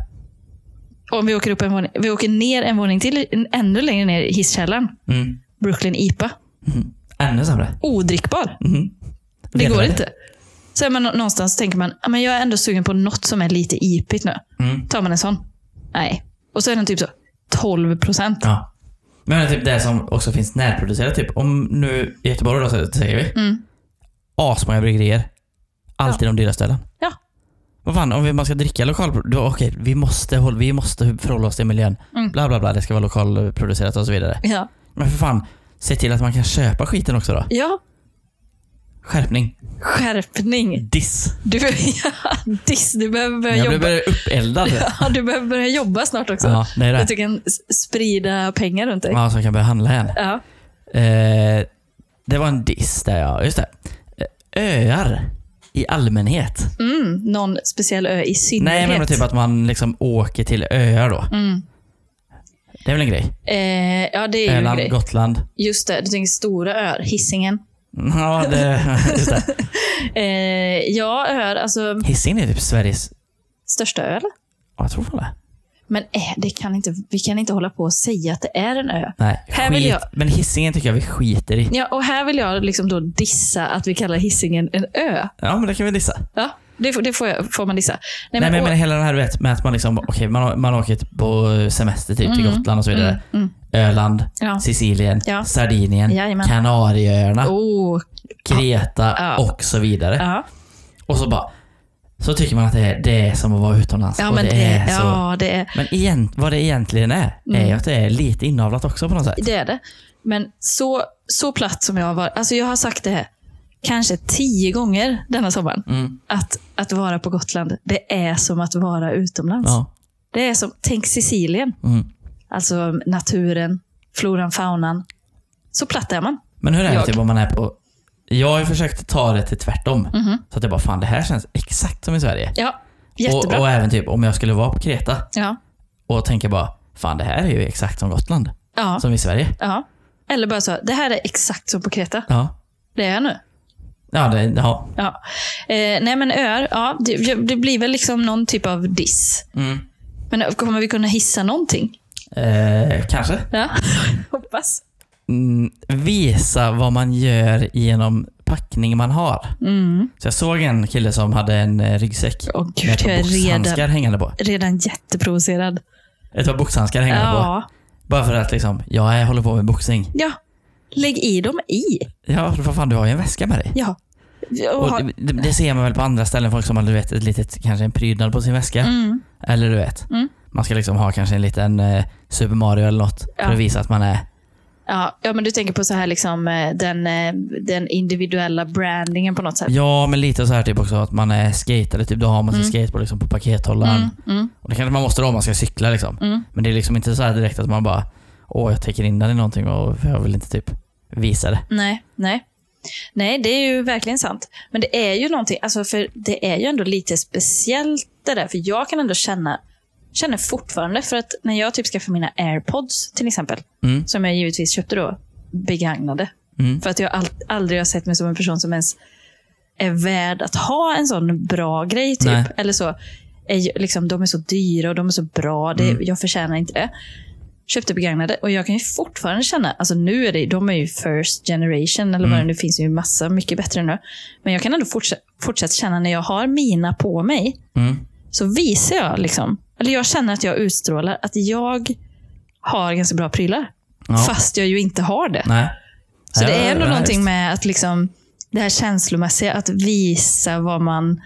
S2: Och Om vi åker, upp en våning, vi åker ner en våning till, en- ännu längre ner i hisskällaren.
S1: Mm.
S2: Brooklyn IPA.
S1: Ännu sämre.
S2: Odrickbar. Det går
S1: Vedervärdigt.
S2: inte. Så är man nå- någonstans så tänker man, "Ja, men jag är ändå sugen på något som är lite ipigt nu.
S1: Mm.
S2: Tar man en sån? Nej. Och så är den typ så 12 procent.
S1: Ja. Men det är typ det som också finns närproducerat. Typ. Om nu i Göteborg då så säger vi.
S2: Mm.
S1: Asmånga bryggerier. Alltid de dyra ställen.
S2: Ja.
S1: Vad fan, om vi- man ska dricka lokalproducerat. Okej, vi måste, hålla, vi måste förhålla oss till miljön.
S2: Mm.
S1: Bla bla bla, det ska vara lokalproducerat och så vidare.
S2: Ja.
S1: Men för fan, se till att man kan köpa skiten också då.
S2: Ja,
S1: Skärpning.
S2: skärpning.
S1: Diss.
S2: Du, ja, diss, du behöver börja
S1: Jag
S2: jobba.
S1: blev bara uppeldad.
S2: Ja, du behöver börja jobba snart också.
S1: Ja, det är
S2: Så
S1: det.
S2: att du kan s- sprida pengar runt dig.
S1: Ja, så jag kan börja handla igen.
S2: Ja.
S1: Eh, det var en diss där ja, just det. Eh, Öar i allmänhet.
S2: Mm, någon speciell ö i
S1: Nej
S2: synnerhet.
S1: men typ att man liksom åker till öar då.
S2: Mm.
S1: Det är väl en grej?
S2: eh, ja, det är ju en
S1: Öland,
S2: grej.
S1: Gotland.
S2: Just det, du tänker stora öar. Hisingen.
S1: Ja, det, just det.
S2: Eh, ja, öar. Alltså,
S1: Hisingen är typ Sveriges...
S2: största ö, eller?
S1: Ja, jag tror fan det.
S2: Men eh, det kan inte, vi kan inte hålla på och säga att det är en ö.
S1: Nej,
S2: Här vill
S1: skit.
S2: jag-
S1: Men Hisingen tycker jag vi skiter i.
S2: Ja, och här vill jag liksom då dissa att vi kallar hissingen en ö.
S1: Ja, men det kan vi dissa.
S2: Ja, det får, det får, jag, får man dissa. Nej,
S1: Nej, men, men hela den här du vet, med att man liksom, okej, man, man åker typ på semester typ, till Gotland och så vidare. Öland,
S2: Mm. Ja.
S1: Sicilien,
S2: Ja.
S1: Sardinien,
S2: Jajamän.
S1: Kanarieöarna,
S2: Oh,
S1: Kreta
S2: Ja.
S1: och så vidare.
S2: ja.
S1: Och så bara, så tycker man att det är, det är som att vara utomlands.
S2: Ja,
S1: och
S2: men
S1: det, är så.
S2: ja, det är
S1: Men egent, vad det egentligen är, är ju
S2: Mm.
S1: att det är lite inavlat också på något sätt.
S2: det. Är det. Men så, så platt som jag var. Alltså jag har sagt det här kanske tio gånger denna sommaren.
S1: Mm.
S2: Att, att vara på Gotland, det är som att vara utomlands.
S1: Ja.
S2: Det är som, tänk Sicilien.
S1: Mm.
S2: Alltså naturen, floran, faunan. Så platt är man.
S1: Men hur är det
S2: Jag.
S1: typ om man är på... Jag har ju försökt ta det till tvärtom.
S2: Mm-hmm.
S1: Så att jag bara, fan det här känns exakt som i Sverige.
S2: Ja,
S1: Och,
S2: jättebra.
S1: och även typ om jag skulle vara på Kreta
S2: ja.
S1: och tänka bara, fan det här är ju exakt som Gotland.
S2: Ja,
S1: Som i Sverige.
S2: ja. Eller bara så, det här är exakt som på Kreta.
S1: Ja.
S2: Det är jag nu.
S1: Ja, det, ja.
S2: Ja. Eh, nej men öar, ja, det, det blir väl liksom någon typ av diss.
S1: Mm.
S2: Men eh, kommer vi kunna hissa någonting?
S1: Eh, kanske.
S2: Ja, hoppas.
S1: Mm, visa vad man gör genom packning man har. Så jag såg en kille som hade en eh, ryggsäck
S2: Mm. Åh gud,
S1: med ett
S2: jag
S1: par
S2: är
S1: boxhandskar
S2: redan,
S1: hängande på.
S2: redan jätteprovocerad.
S1: Ett par boxhandskar hängande på.
S2: Ja.
S1: Bara för att liksom, ja, jag håller på med boxning.
S2: ja, lägg i dem i.
S1: Ja, för fan du har ju en väska med dig.
S2: Ja. Och
S1: Och
S2: ha,
S1: det, det- det ser man väl på andra ställen, folk som har du vet, ett litet, kanske en prydnad på sin väska.
S2: mm,
S1: Eller du vet,
S2: Mm.
S1: man ska liksom ha kanske en liten eh, Super Mario eller något
S2: Ja.
S1: för att visa att man är...
S2: ja, ja, men du tänker på så här liksom, eh, den, eh, den individuella brandingen på något sätt.
S1: Ja, men lite så här typ också att man är skatare. Typ, då har man sin skateboard liksom på pakethållaren.
S2: Mm, mm,
S1: Och det kanske man måste då om man ska cykla. Liksom.
S2: Mm.
S1: Men det är liksom inte så här direkt att man bara Åh, jag täcker in den i någonting och jag vill inte typ visa det.
S2: nej, nej. Nej, det är ju verkligen sant. Men det är ju någonting, alltså för det är ju ändå lite speciellt det där. För jag kan ändå känna, känner fortfarande, för att när jag typ skaffar mina airpods till exempel,
S1: Mm.
S2: som jag givetvis köpte då, begagnade.
S1: Mm.
S2: För att jag all, aldrig har sett mig som en person som ens är värd att ha en sån bra grej. Typ.
S1: Nej.
S2: Eller så, är, ju- liksom, de är så dyra och de är så bra. Det,
S1: Mm.
S2: Jag förtjänar inte det. Köpte begagnade och jag kan ju fortfarande känna, alltså nu är det, de är ju first generation eller
S1: Mm.
S2: vad det nu finns ju massa mycket bättre nu. Men jag kan ändå fortsätta, fortsätta känna när jag har mina på mig,
S1: Mm.
S2: så visar jag liksom, eller jag känner att jag utstrålar att jag har ganska bra prylar.
S1: Ja.
S2: Fast jag ju inte har det.
S1: Nej.
S2: Så
S1: Ja,
S2: det är
S1: ja,
S2: ändå
S1: ja,
S2: någonting
S1: visst.
S2: med att liksom, det här känslomässiga, att visa vad man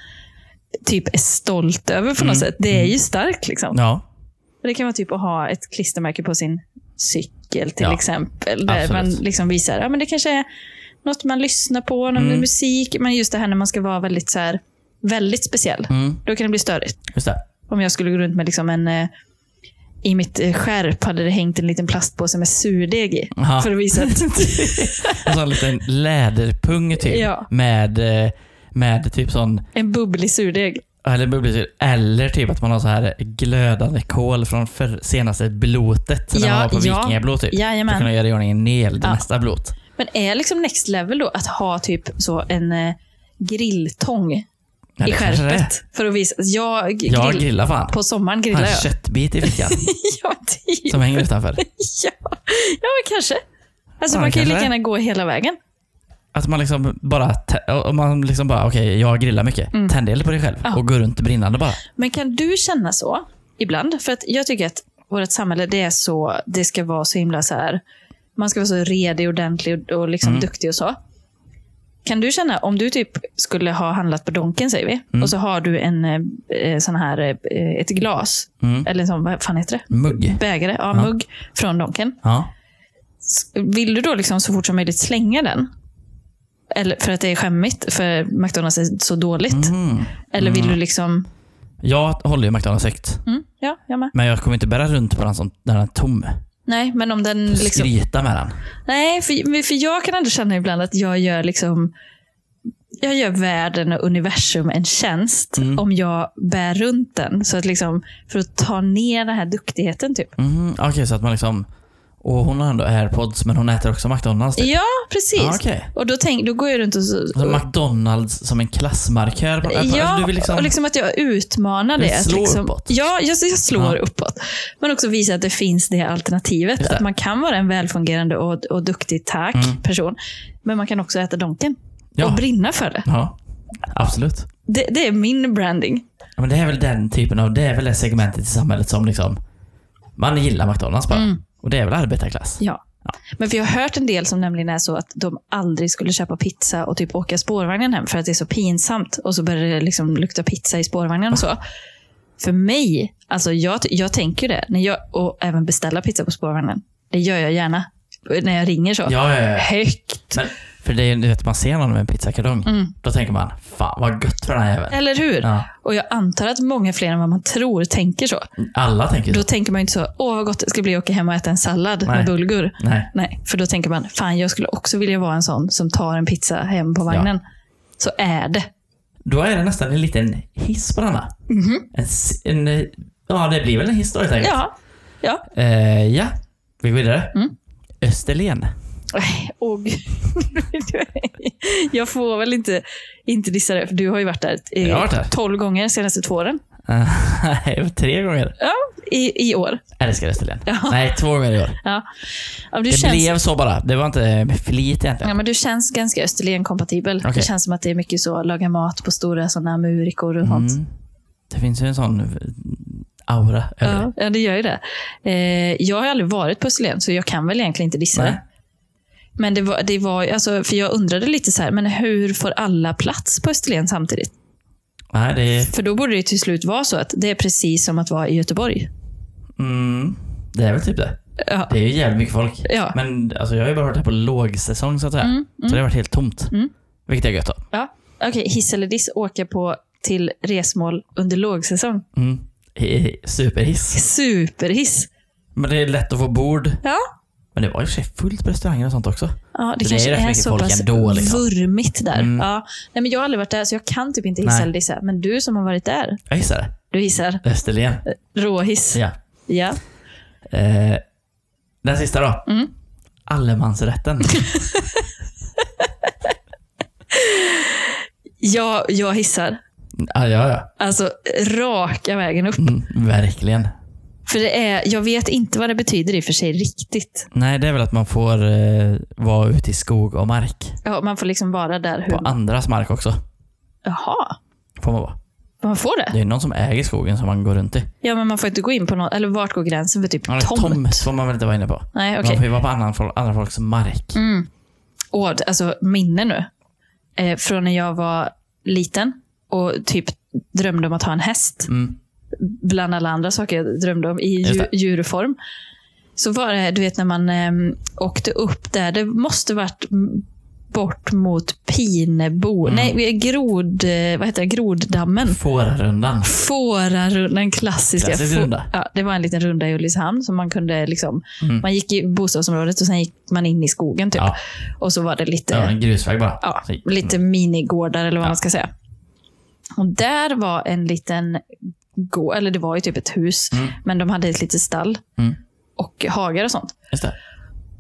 S2: typ är stolt över på
S1: Mm.
S2: något sätt. Det är ju starkt. Liksom.
S1: Ja.
S2: Det kan vara typ att ha ett klistermärke på sin cykel till
S1: Ja,
S2: exempel. Där
S1: absolut.
S2: man liksom visar att ja, men det kanske är något man lyssnar på, någon
S1: Mm.
S2: musik. Men just det här när man ska vara väldigt, så här, väldigt speciell.
S1: Mm.
S2: Då kan det bli störigt.
S1: Just det.
S2: Om jag skulle gå runt med liksom en... eh, I mitt eh, skärp hade det hängt en liten plastpåse med surdeg i.
S1: Aha.
S2: För att visa att...
S1: En sån liten läderpung typ.
S2: Ja.
S1: Med, eh, med typ sån,
S2: en bubblig surdeg.
S1: eller bubbelsyra. Eller typ att man har så här glödande kol från för, senaste blotet. När
S2: Ja,
S1: man var på
S2: ja.
S1: vikingablot typ. För att
S2: Jajamän.
S1: kunna göra i ordning en el, det
S2: Ja.
S1: nästa blot.
S2: Men är liksom next level då att ha typ så en eh, grilltång
S1: Ja,
S2: i
S1: det kanske det är.
S2: skärpet? För att visa att jag, grill,
S1: Jag grillar Ah, fan.
S2: På sommaren
S1: Har
S2: grillar
S1: en
S2: jag.
S1: köttbit i fickan
S2: ja, typ.
S1: som hänger utanför.
S2: ja. ja, men kanske. Alltså
S1: Ja,
S2: man kan
S1: kanske
S2: ju lika
S1: det.
S2: gärna gå hela vägen.
S1: Att man liksom bara, tä- om man liksom bara okej, jag grillar mycket. Tänd eld på dig själv
S2: Mm. Ja.
S1: och gå runt brinnande bara.
S2: Men kan du känna så ibland? För att jag tycker att vårt samhälle, det är så, det ska vara så himla så här. Man ska vara så redig, ordentlig och, och liksom
S1: Mm.
S2: duktig och så. Kan du känna, om du typ skulle ha handlat på Donken, säger vi,
S1: Mm.
S2: och så har du en eh, eh, sån här, eh, ett glas,
S1: Mm.
S2: eller en sån, vad fan heter det?
S1: Mugg.
S2: Bägare, ja, mugg från Donken.
S1: Ja.
S2: S- Vill du då liksom så fort som möjligt slänga den? Eller för att det är skämmigt, för McDonalds är så dåligt.
S1: Mm.
S2: Eller vill du liksom...
S1: Jag håller ju McDonalds högt.
S2: Mm, ja, jag med.
S1: Men jag kommer inte bära runt på den som när den är tom.
S2: Nej, men om den liksom...
S1: Skryta med den.
S2: Nej, för, för jag kan ändå känna ibland att jag gör liksom jag gör världen och universum en tjänst
S1: Mm.
S2: om jag bär runt den. Så att liksom, för att ta ner den här duktigheten. typ.
S1: Mm. Okej, så att man liksom... Och hon har ändå airpods, men hon äter också McDonalds. typ.
S2: Ja, precis.
S1: Ah, okej.
S2: Och då, tänk, då går jag runt och... Så,
S1: Alltså McDonalds som en klassmarkör. På,
S2: ja,
S1: alltså, du vill liksom,
S2: och liksom att jag utmanar
S1: Du
S2: det. att
S1: slår
S2: liksom,
S1: uppåt.
S2: Ja, jag, jag slår
S1: Ja.
S2: uppåt. Men också visa att det finns det alternativet.
S1: Just det.
S2: Att man kan vara en välfungerande och, och duktig tack person. Men man kan också äta Donken.
S1: Mm. Ja.
S2: Och brinna för det.
S1: Ja, absolut.
S2: det. Det är min branding.
S1: Ja, men det är väl den typen av, det är väl det segmentet i samhället som liksom, man gillar McDonalds bara.
S2: Mm.
S1: Och det är väl arbetarklass.
S2: Ja. Men vi har hört en del som nämligen är så att de aldrig skulle köpa pizza och typ åka spårvagnen hem för att det är så pinsamt. Och så börjar det liksom lukta pizza i spårvagnen och så. För mig, alltså jag, jag tänker ju det. När jag, och även beställa pizza på spårvagnen. Det gör jag gärna. När jag ringer så.
S1: Ja, ja, ja.
S2: Högt.
S1: Men, för det är, du vet, man ser någon med en pizzakartong.
S2: Mm.
S1: Då tänker man, fan vad gött för den här jäveln.
S2: Eller hur?
S1: Ja.
S2: Och jag antar att många fler än vad man tror tänker så.
S1: Alla tänker
S2: Då
S1: så.
S2: tänker man ju inte så, åh vad gott det ska bli att åka hem och äta en sallad
S1: Nej.
S2: med bulgur.
S1: Nej.
S2: Nej, för då tänker man, fan jag skulle också vilja vara en sån som tar en pizza hem på vagnen. Så är det.
S1: Då är det nästan en liten hiss på denna. En, s- en, eh, ja, det blir väl en hiss då helt enkelt.
S2: Mhm. Ja. Mm. Ja.
S1: Eh, ja, vi går vidare. Österlen.
S2: Och, jag får väl inte, inte dissa det, för du har ju varit där
S1: Jag har varit där.
S2: 12 gånger de senaste två åren.
S1: Nej, Tre gånger.
S2: Ja, i, i år.
S1: Älskar Österlen.
S2: Ja.
S1: Nej, två gånger i år.
S2: Ja. Ja, men du,
S1: Det
S2: känns,
S1: blev så bara. Det var inte med flit egentligen.
S2: ja, men du känns ganska Österlen-kompatibel.
S1: Okej.
S2: Det känns som att det är mycket så, laga mat på stora sådana murikor och sånt.
S1: Mm. Det finns ju en sån eh, aura över det.
S2: Ja, ja, det gör ju det. Eh, jag har ju aldrig varit på Österlen, så jag kan väl egentligen inte dissa
S1: Nej.
S2: det. Men det var, det var alltså, för jag undrade lite så här, men hur får alla plats på Österlen samtidigt?
S1: Nej, det är,
S2: För då borde det till slut vara så att det är precis som att vara i Göteborg.
S1: mm, det är väl typ det.
S2: Ja,
S1: Det är ju jävligt mycket folk.
S2: Ja. Mm,
S1: Men alltså, jag har ju bara varit här på lågsäsong så att säga. Så det har varit helt tomt. Vilket är gött då.
S2: ja. Okej, hiss eller diss, åka på till resmål under lågsäsong.
S1: Mm. Eh, Superhiss.
S2: Superhiss!
S1: Men det är lätt att få bord.
S2: Ja,
S1: Men det var i och för sig fullt på restauranger och sånt också.
S2: ja det,
S1: Det är
S2: kanske
S1: ju rätt
S2: är,
S1: mycket
S2: så
S1: folk
S2: pass
S1: ändå, liksom.
S2: vurmigt där.
S1: Mm.
S2: Ja. Nej, men jag har aldrig varit där, så jag kan typ inte hissa
S1: Nej.
S2: eller dissa. Men du som har varit där,
S1: Jag gissar det.
S2: du hissar.
S1: Österlen.
S2: Eh. Råhiss.
S1: Ja.
S2: Ja.
S1: Eh, den sista då.
S2: Mm.
S1: Allemansrätten.
S2: Ja, jag hissar.
S1: ja, ja, ja.
S2: Alltså raka vägen upp.
S1: Mm, verkligen.
S2: För det är, jag vet inte vad det betyder i och för sig riktigt.
S1: Nej, det är väl att man får eh, vara ute i skog och mark.
S2: Ja, man får liksom vara där.
S1: På
S2: Hur...
S1: andras mark också.
S2: Jaha,
S1: Får man vara.
S2: man får det?
S1: Det är någon som äger skogen som man går runt i.
S2: Ja, men man får inte gå in på någon, eller vart går gränsen för typ
S1: Ja, det är
S2: tomt?
S1: Tomt får man väl inte vara inne på.
S2: Nej,
S1: Man
S2: okej. Mm.
S1: får ju vara på annan folk, andra folks mark.
S2: Åh, det- alltså minne nu. Eh, från när jag var liten och typ drömde om att ha en häst.
S1: Mm.
S2: Bland alla andra saker jag drömde om i
S1: Just
S2: dju-
S1: det.
S2: djurform. Så var det, du vet när man ehm, åkte upp där. Det måste varit m- bort mot Pinebo.
S1: Mm.
S2: Nej, grod, eh, vad heter det? Groddammen.
S1: Fårarundan.
S2: Typ. Fårarundan, den klassiska.
S1: Klassisk
S2: Få-
S1: runda. Mm.
S2: Ja, det var en liten runda i Ulricehamn. Som man, kunde liksom, man gick i bostadsområdet och sen gick man in i skogen. Typ.
S1: Ja.
S2: Och så var det lite,
S1: Det var en Mm. grusväg bara.
S2: ja,
S1: Så-
S2: lite minigårdar eller vad man ska säga. Och där var en liten gård, eller det var ju typ ett hus, men de hade ett litet stall
S1: Mm.
S2: och hagar och sånt.
S1: Just det.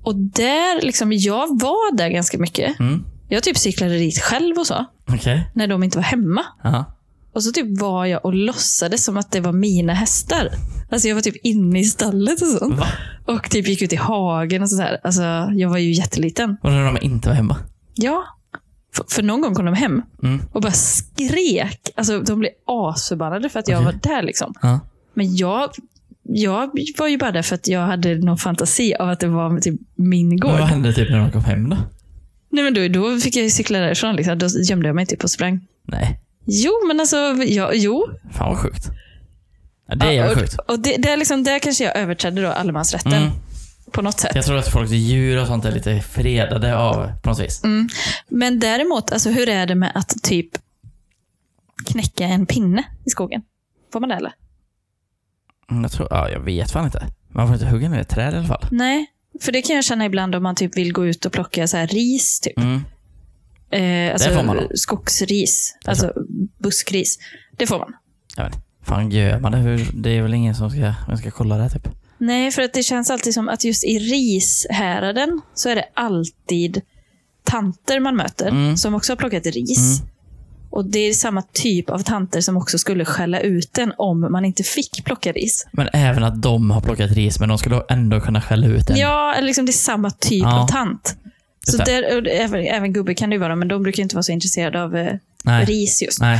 S2: Och där, liksom, jag var där ganska mycket.
S1: Mm.
S2: Jag typ cyklade dit själv och så,
S1: Okej.
S2: när de inte var hemma.
S1: Ja.
S2: Och så typ var jag och låtsades som att det var mina hästar. Alltså jag var typ inne i stallet och sånt.
S1: Va?
S2: Och typ gick ut i hagen och sådär. Alltså jag var ju jätteliten.
S1: Och när de inte var hemma.
S2: Ja. För, för någon gång kom de hem
S1: Mm.
S2: och bara skrek. Alltså de blev asförbannade för att jag
S1: Okej.
S2: var där liksom.
S1: Ja.
S2: Men jag, jag var ju bara där för att jag hade någon fantasi av att det var typ min
S1: Men
S2: gård.
S1: vad hände typ när de kom hem då?
S2: Nej men då, då fick jag ju cykla därifrån liksom. Då gömde jag mig typ och sprang.
S1: Nej.
S2: Jo men alltså, ja, jo.
S1: Fan vad sjukt. Ja, det är
S2: Ja,
S1: jävligt
S2: och-
S1: sjukt.
S2: Och det, det är liksom, där kanske jag överträdde då allemansrätten.
S1: Mm.
S2: på något sätt.
S1: Jag tror att folks djur och sånt är lite fredade av på något vis.
S2: Mm. Men däremot, alltså, hur är det med att typ knäcka en pinne i skogen? Får man det eller?
S1: Mm, Jag tror, ja, jag vet fan inte. Man får inte hugga ner ett träd i alla fall.
S2: Nej, för det kan jag känna ibland om man typ vill gå ut och plocka så här ris. Typ.
S1: Mm.
S2: Eh, alltså,
S1: får man då.
S2: skogsris, alltså buskris. Det får man.
S1: Jag vet inte. Fan gör man det? Hur, det är väl ingen som ska, vem ska kolla det här, typ.
S2: Nej, för att det känns alltid som att just i rishäraden så är det alltid tanter man möter
S1: Mm.
S2: som också har plockat ris. Och Det är samma typ av tanter som också skulle skälla ut en om man inte fick plocka ris.
S1: Men även att de har plockat ris, men de skulle ändå kunna skälla ut en.
S2: Ja, eller liksom det är samma typ
S1: Ja.
S2: av tant. Så
S1: Just
S2: där, och det- även, även gubbe kan det ju vara, men de brukar ju inte vara så intresserade av eh,
S1: Nej.
S2: ris just.
S1: Nej,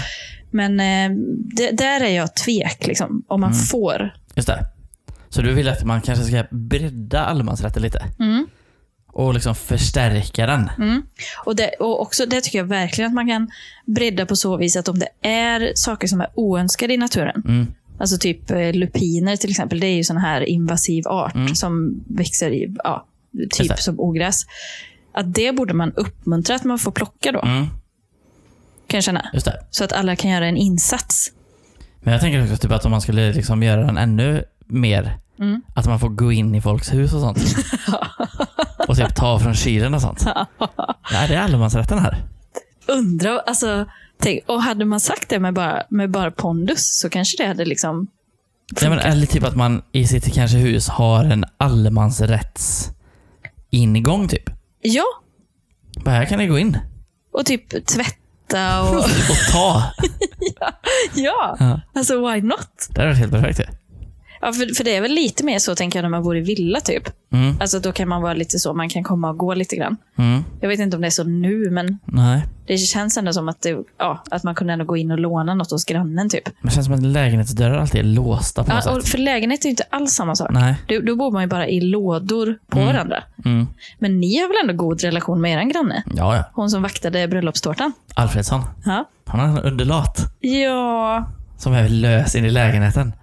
S2: Men eh, det, där är jag tvek, liksom, om
S1: Mm.
S2: man får.
S1: just det. Så du vill att man kanske ska bredda allemansrätten lite?
S2: Mm.
S1: Och liksom förstärka den?
S2: Mm. Och, det, och också, det tycker jag verkligen att man kan bredda på så vis att om det är saker som är oönskade i naturen,
S1: Mm.
S2: alltså typ eh, lupiner till exempel, det är ju sån här invasiv art
S1: Mm.
S2: som växer i, ja,
S1: Just det.
S2: typ som ogräs. Att det borde man uppmuntra att man får plocka då,
S1: Mm.
S2: kan jag känna.
S1: Just det.
S2: Så att alla kan göra en insats.
S1: Men jag tänker också typ att om man skulle liksom göra den ännu mer,
S2: Mm.
S1: att man får gå in i folks hus och sånt. och typ ta från kylen och sånt. Nej, det är allemansrätten här.
S2: Undra, alltså, tänk, och hade man sagt det med bara, med bara pondus så kanske det hade liksom...
S1: Ja, men, eller typ att man i sitt kanske hus har en allemansrätts ingång typ.
S2: Ja,
S1: Bara här kan ni gå in
S2: och typ tvätta och...
S1: och ta.
S2: ja,
S1: Ja.
S2: alltså why not?
S1: Det hade varit helt perfekt ju.
S2: Ja, för, för det är väl lite mer så tänker jag när man bor i villa typ.
S1: Mm,
S2: Alltså då kan man vara lite så, man kan komma och gå lite grann.
S1: mm,
S2: Jag vet inte om det är så nu, men
S1: nej.
S2: det känns ändå som att, det, ja, att man kunde ändå gå in och låna något hos grannen typ.
S1: Men det känns som att lägenhetsdörrar alltid är låsta på något
S2: Ja, och
S1: sätt.
S2: för lägenhet är ju inte alls samma sak.
S1: Nej.
S2: Då, då bor man ju bara i lådor på varandra.
S1: Mm.
S2: Men ni har väl ändå god relation med er granne?
S1: Ja, ja.
S2: Hon som vaktade bröllopstårtan.
S1: Alfredsson.
S2: Ja.
S1: Han har en underlat
S2: ja,
S1: som är lös in i lägenheten.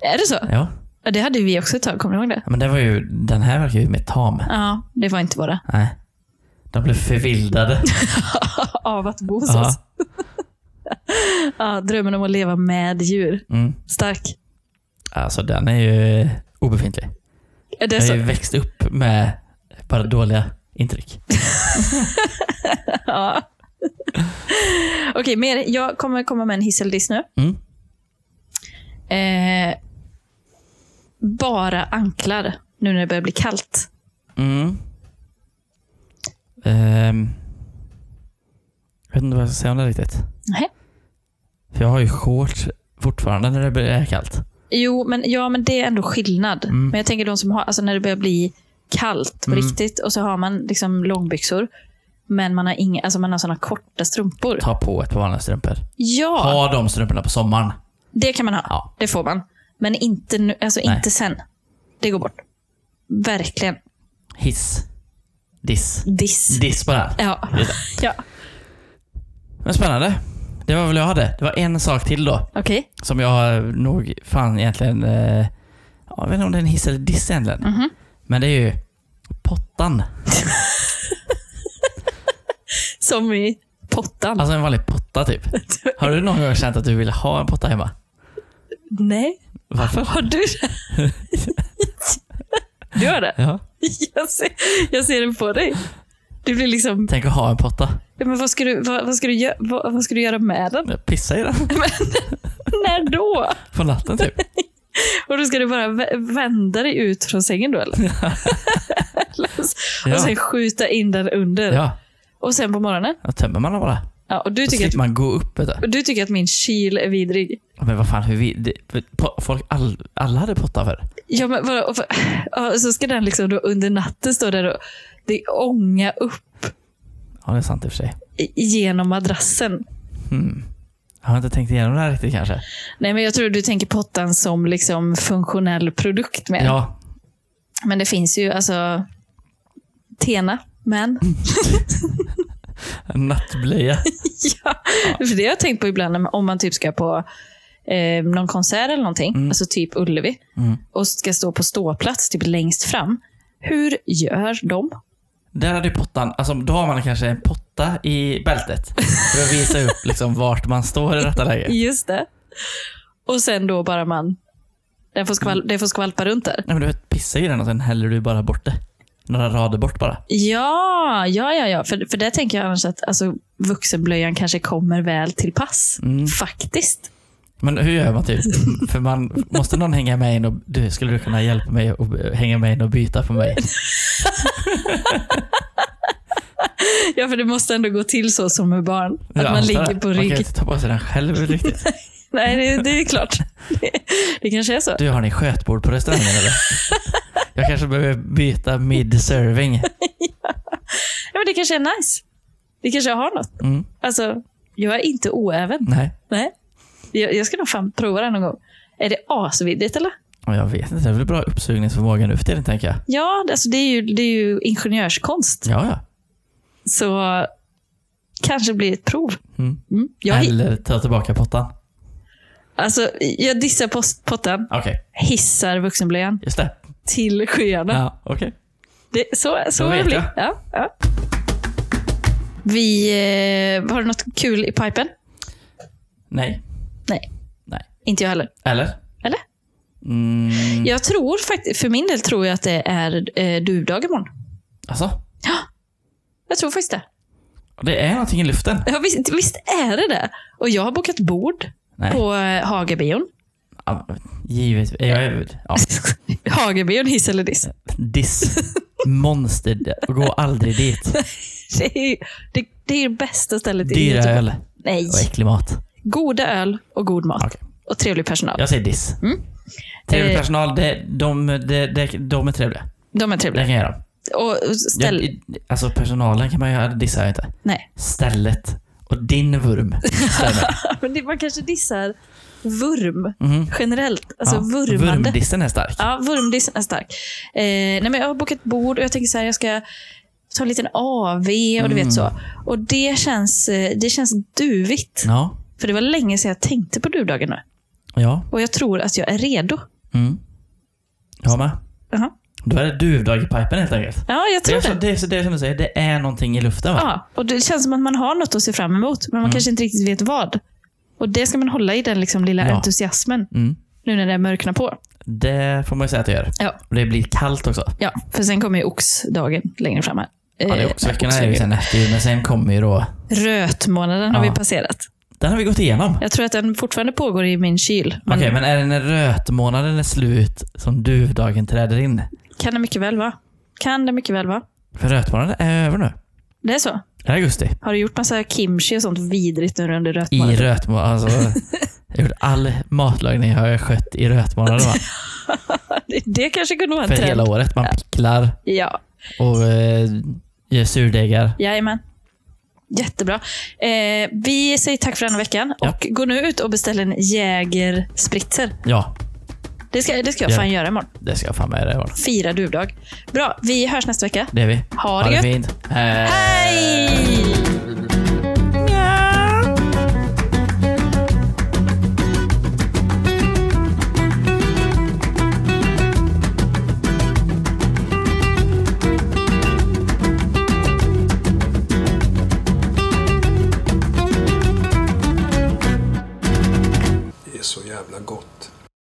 S2: är det så?
S1: Ja.
S2: Ja, Det hade vi också ett tag, kommer du ihåg det?
S1: Men det var ju, den här verkar ju mer tam.
S2: Ja, det var inte bara
S1: Nej. De blev förvildade.
S2: av att bo hos
S1: Ja.
S2: oss. Ja, drömmen om att leva med djur.
S1: Mm.
S2: Stark.
S1: Alltså den är ju obefintlig.
S2: Är det
S1: Jag har
S2: så?
S1: ju växt upp med bara dåliga intryck.
S2: Ja. Okej, mer. jag kommer komma med en hiss eller diss nu.
S1: Mm.
S2: Eh, bara anklar nu när det börjar bli kallt.
S1: Mm. Ehm. jag vet inte vad jag ska säga om det riktigt.
S2: Nej.
S1: För jag har ju shorts fortfarande när det blir- är kallt.
S2: Jo, men, ja, men det är ändå skillnad.
S1: Mm.
S2: Men jag tänker de som har, alltså när det börjar bli kallt på
S1: Mm.
S2: riktigt och så har man liksom långbyxor. Men man har, inga, alltså man har såna korta strumpor.
S1: Ta på ett par vanliga strumpor.
S2: Ja,
S1: Ha de strumporna på sommaren.
S2: det kan man ha.
S1: Ja.
S2: Det får man. Men inte, nu, alltså
S1: Nej.
S2: inte sen. Det går bort. Verkligen.
S1: Hiss. Diss.
S2: Diss.
S1: Diss bara.
S2: Ja. ja.
S1: Men spännande. Det var väl jag hade. Det var en sak till då.
S2: Okej.
S1: Som jag nog fan egentligen... Eh, jag vet inte om det är en hiss eller diss egentligen.
S2: Mhm.
S1: Men det är ju pottan.
S2: Som i pottan.
S1: Alltså en vanlig potta typ. Har du någon gång känt att du vill ha en potta hemma?
S2: Nej.
S1: Varför?
S2: Har du Du har det?
S1: Ja.
S2: Jag ser, jag ser det på dig. Du blir liksom,
S1: Tänk att ha en potta.
S2: ja, men vad ska du, vad, vad ska du, gö- vad, vad ska du göra med den?
S1: Jag pissar i den
S2: När då?
S1: på natten typ.
S2: Och då ska du bara vä- vända dig ut från sängen då eller?
S1: Ja.
S2: Och sen skjuta in den under.
S1: Ja,
S2: Och sen på morgonen.
S1: då tömmer man den bara.
S2: Ja, och du
S1: Då
S2: tycker,
S1: slipper
S2: att,
S1: man gå upp. Vet du.
S2: och du tycker att min kyl är vidrig.
S1: Men vad fan, hur vi, det, po- folk, all, alla hade potta för.
S2: Ja, men vadå? Och för, ja, så ska den liksom då under natten stå där och det ånga upp
S1: Ja, det är sant i och för sig.
S2: i- genom madrassen.
S1: Jag har inte tänkt igenom det här riktigt kanske.
S2: Nej, men jag tror du tänker pottan som liksom funktionell produkt med.
S1: Ja,
S2: Men det finns ju alltså Tena, men.
S1: en nattblöja.
S2: ja. För det har jag tänkt på ibland när- om man typ ska på eh, någon konsert eller någonting, alltså typ Ullevi, och ska stå på ståplats typ längst fram. Hur gör de?
S1: Där hade ju pottan, alltså då har man kanske en potta i bältet. För att visa upp liksom vart man står i detta läge.
S2: Just det. Och sen då bara man... Den får, skval, den får skvalpa runt där.
S1: Nej men du vet, pissa i den och sen häller du bara bort det. Några rader bort bara.
S2: Ja, ja, ja. ja. För, för där tänker jag annars att alltså, vuxenblöjan kanske kommer väl till pass.
S1: Mm.
S2: Faktiskt.
S1: Men hur gör man typ? För man, måste någon hänga med in och, du, skulle du kunna hjälpa mig och hänga med in och byta på mig?
S2: Ja, för det måste ändå gå till så som med barn. Att
S1: Jag
S2: man
S1: antar
S2: ligger
S1: det.
S2: på
S1: Man kan ju
S2: rygg.
S1: inte ta på sig den själv riktigt.
S2: Nej, det, det är klart. Det, det kanske är så.
S1: Du, har ni skötbord på restaurangen eller? Jag kanske behöver byta mid-serving.
S2: Ja, men det kanske är nice. Det kanske jag har något.
S1: Mm,
S2: Alltså, jag är inte oäven.
S1: nej,
S2: Nej. Jag, jag ska nog fan prova det någon gång. Är det asviddigt eller?
S1: Ja, jag vet inte. Det är väl bra uppsugningsförmåga nu för tiden tänker jag.
S2: Ja, det- alltså, det, är ju, det är ju ingenjörskonst.
S1: Ja, ja.
S2: Så kanske blir ett prov.
S1: Mm.
S2: Mm. Jag,
S1: Eller ta tillbaka pottan.
S2: alltså, jag dissar post- potten,
S1: Okej,
S2: hissar vuxenblöjan
S1: just det.
S2: till skyarna.
S1: Ja, okej.
S2: Det, så så
S1: Då
S2: det
S1: vet
S2: blir. Ja, ja. Vi, eh, har du något kul i pipen?
S1: Nej.
S2: Nej,
S1: Nej.
S2: inte jag heller.
S1: Eller?
S2: Eller?
S1: Mm.
S2: Jag tror faktiskt, för min del tror jag att det är eh, duvdag imorgon.
S1: Alltså,
S2: Jag tror faktiskt det.
S1: det är någonting i luften.
S2: Ja, visst, visst är det det? Och jag har bokat bord
S1: Nej.
S2: på eh, Hagerbion.
S1: Ja, givetvis. Jag är, ja.
S2: Hagerbion, hiss eller diss?
S1: Diss. Monster. Gå aldrig dit.
S2: Det är, ju- det, det är typ- det bästa stället i
S1: Dyra
S2: Göteborg.
S1: öl
S2: Nej.
S1: och äcklig mat.
S2: Goda öl och god mat.
S1: Okej.
S2: Och trevlig personal.
S1: Jag säger diss. Trevlig
S2: Mm. Eh.
S1: personal. De, de, de, de, de är trevliga.
S2: De är
S1: Det
S2: trevliga.
S1: kan jag göra.
S2: Och och
S1: Jag,
S2: ställ...
S1: alltså personalen kan man göra. Dissar jag inte.
S2: Nej.
S1: Stället. Och din vurm. Stämmer.
S2: Men det, man kanske dissar vurm
S1: Mhm.
S2: generellt. Alltså
S1: Ja,
S2: vurmande.
S1: Vurmdissen är stark.
S2: Ja, vurmdissen är stark. Eh, nej, men jag har bokat bord och jag tänker så här, jag ska ta en liten AV och du vet så.
S1: Mm.
S2: Och det känns, eh, det känns duvigt.
S1: Ja.
S2: För det var länge sedan jag tänkte på duvdagen nu.
S1: Ja.
S2: Och jag tror att jag är redo.
S1: Mm. Jag med.
S2: Jaha.
S1: Då är det duvdag i pipen helt enkelt.
S2: Ja, jag
S1: Det
S2: tror
S1: är,
S2: det.
S1: så, det, är, så- det är som du säger, det är någonting i luften va?
S2: Ja, och det känns som att man har något att se fram emot,
S1: Mm.
S2: men man kanske inte riktigt vet vad. Och det ska man hålla i den liksom lilla
S1: Ja.
S2: entusiasmen
S1: Mm.
S2: nu när det mörknar på.
S1: Det får man ju säga att det gör.
S2: Ja.
S1: Och det blir kallt också.
S2: ja, för sen kommer ju oxdagen längre fram här.
S1: Ja, det är
S2: Eh,
S1: också veckorna är ju
S2: oxveckan.
S1: sen efter jul, men sen kommer ju då...
S2: Rötmånaden har
S1: Ja.
S2: vi passerat.
S1: Den har vi gått igenom.
S2: Jag tror att den fortfarande pågår i min kyl. Men
S1: Okej, men är det när rötmånaden är slut som duvdagen träder in?
S2: kan det mycket väl vara. Kan det mycket väl vara.
S1: För rötmånaden är över nu.
S2: Det är så.
S1: Det är augusti.
S2: Har du gjort massa kimchi och sånt vidrigt nu under
S1: I
S2: rötmånaden?
S1: rötmånaden. Alltså, jag har gjort all matlagning har jag skött i rötmånaden. Va?
S2: Det, det kanske kunde vara en
S1: För
S2: trend.
S1: hela året. Man picklar
S2: Ja,
S1: och eh, gör surdegar.
S2: jajamän. Jättebra. Eh, vi säger tack för denna veckan
S1: Ja.
S2: och gå nu ut och beställ en Jägerspritzer.
S1: Ja,
S2: Det ska, det ska jag
S1: Ja.
S2: fan göra imorgon.
S1: det ska jag fan med dig imorgon.
S2: Fira duvdag. Bra, vi hörs nästa vecka.
S1: Det är vi.
S2: Ha det gött.
S1: fint. Hej!
S2: Hej!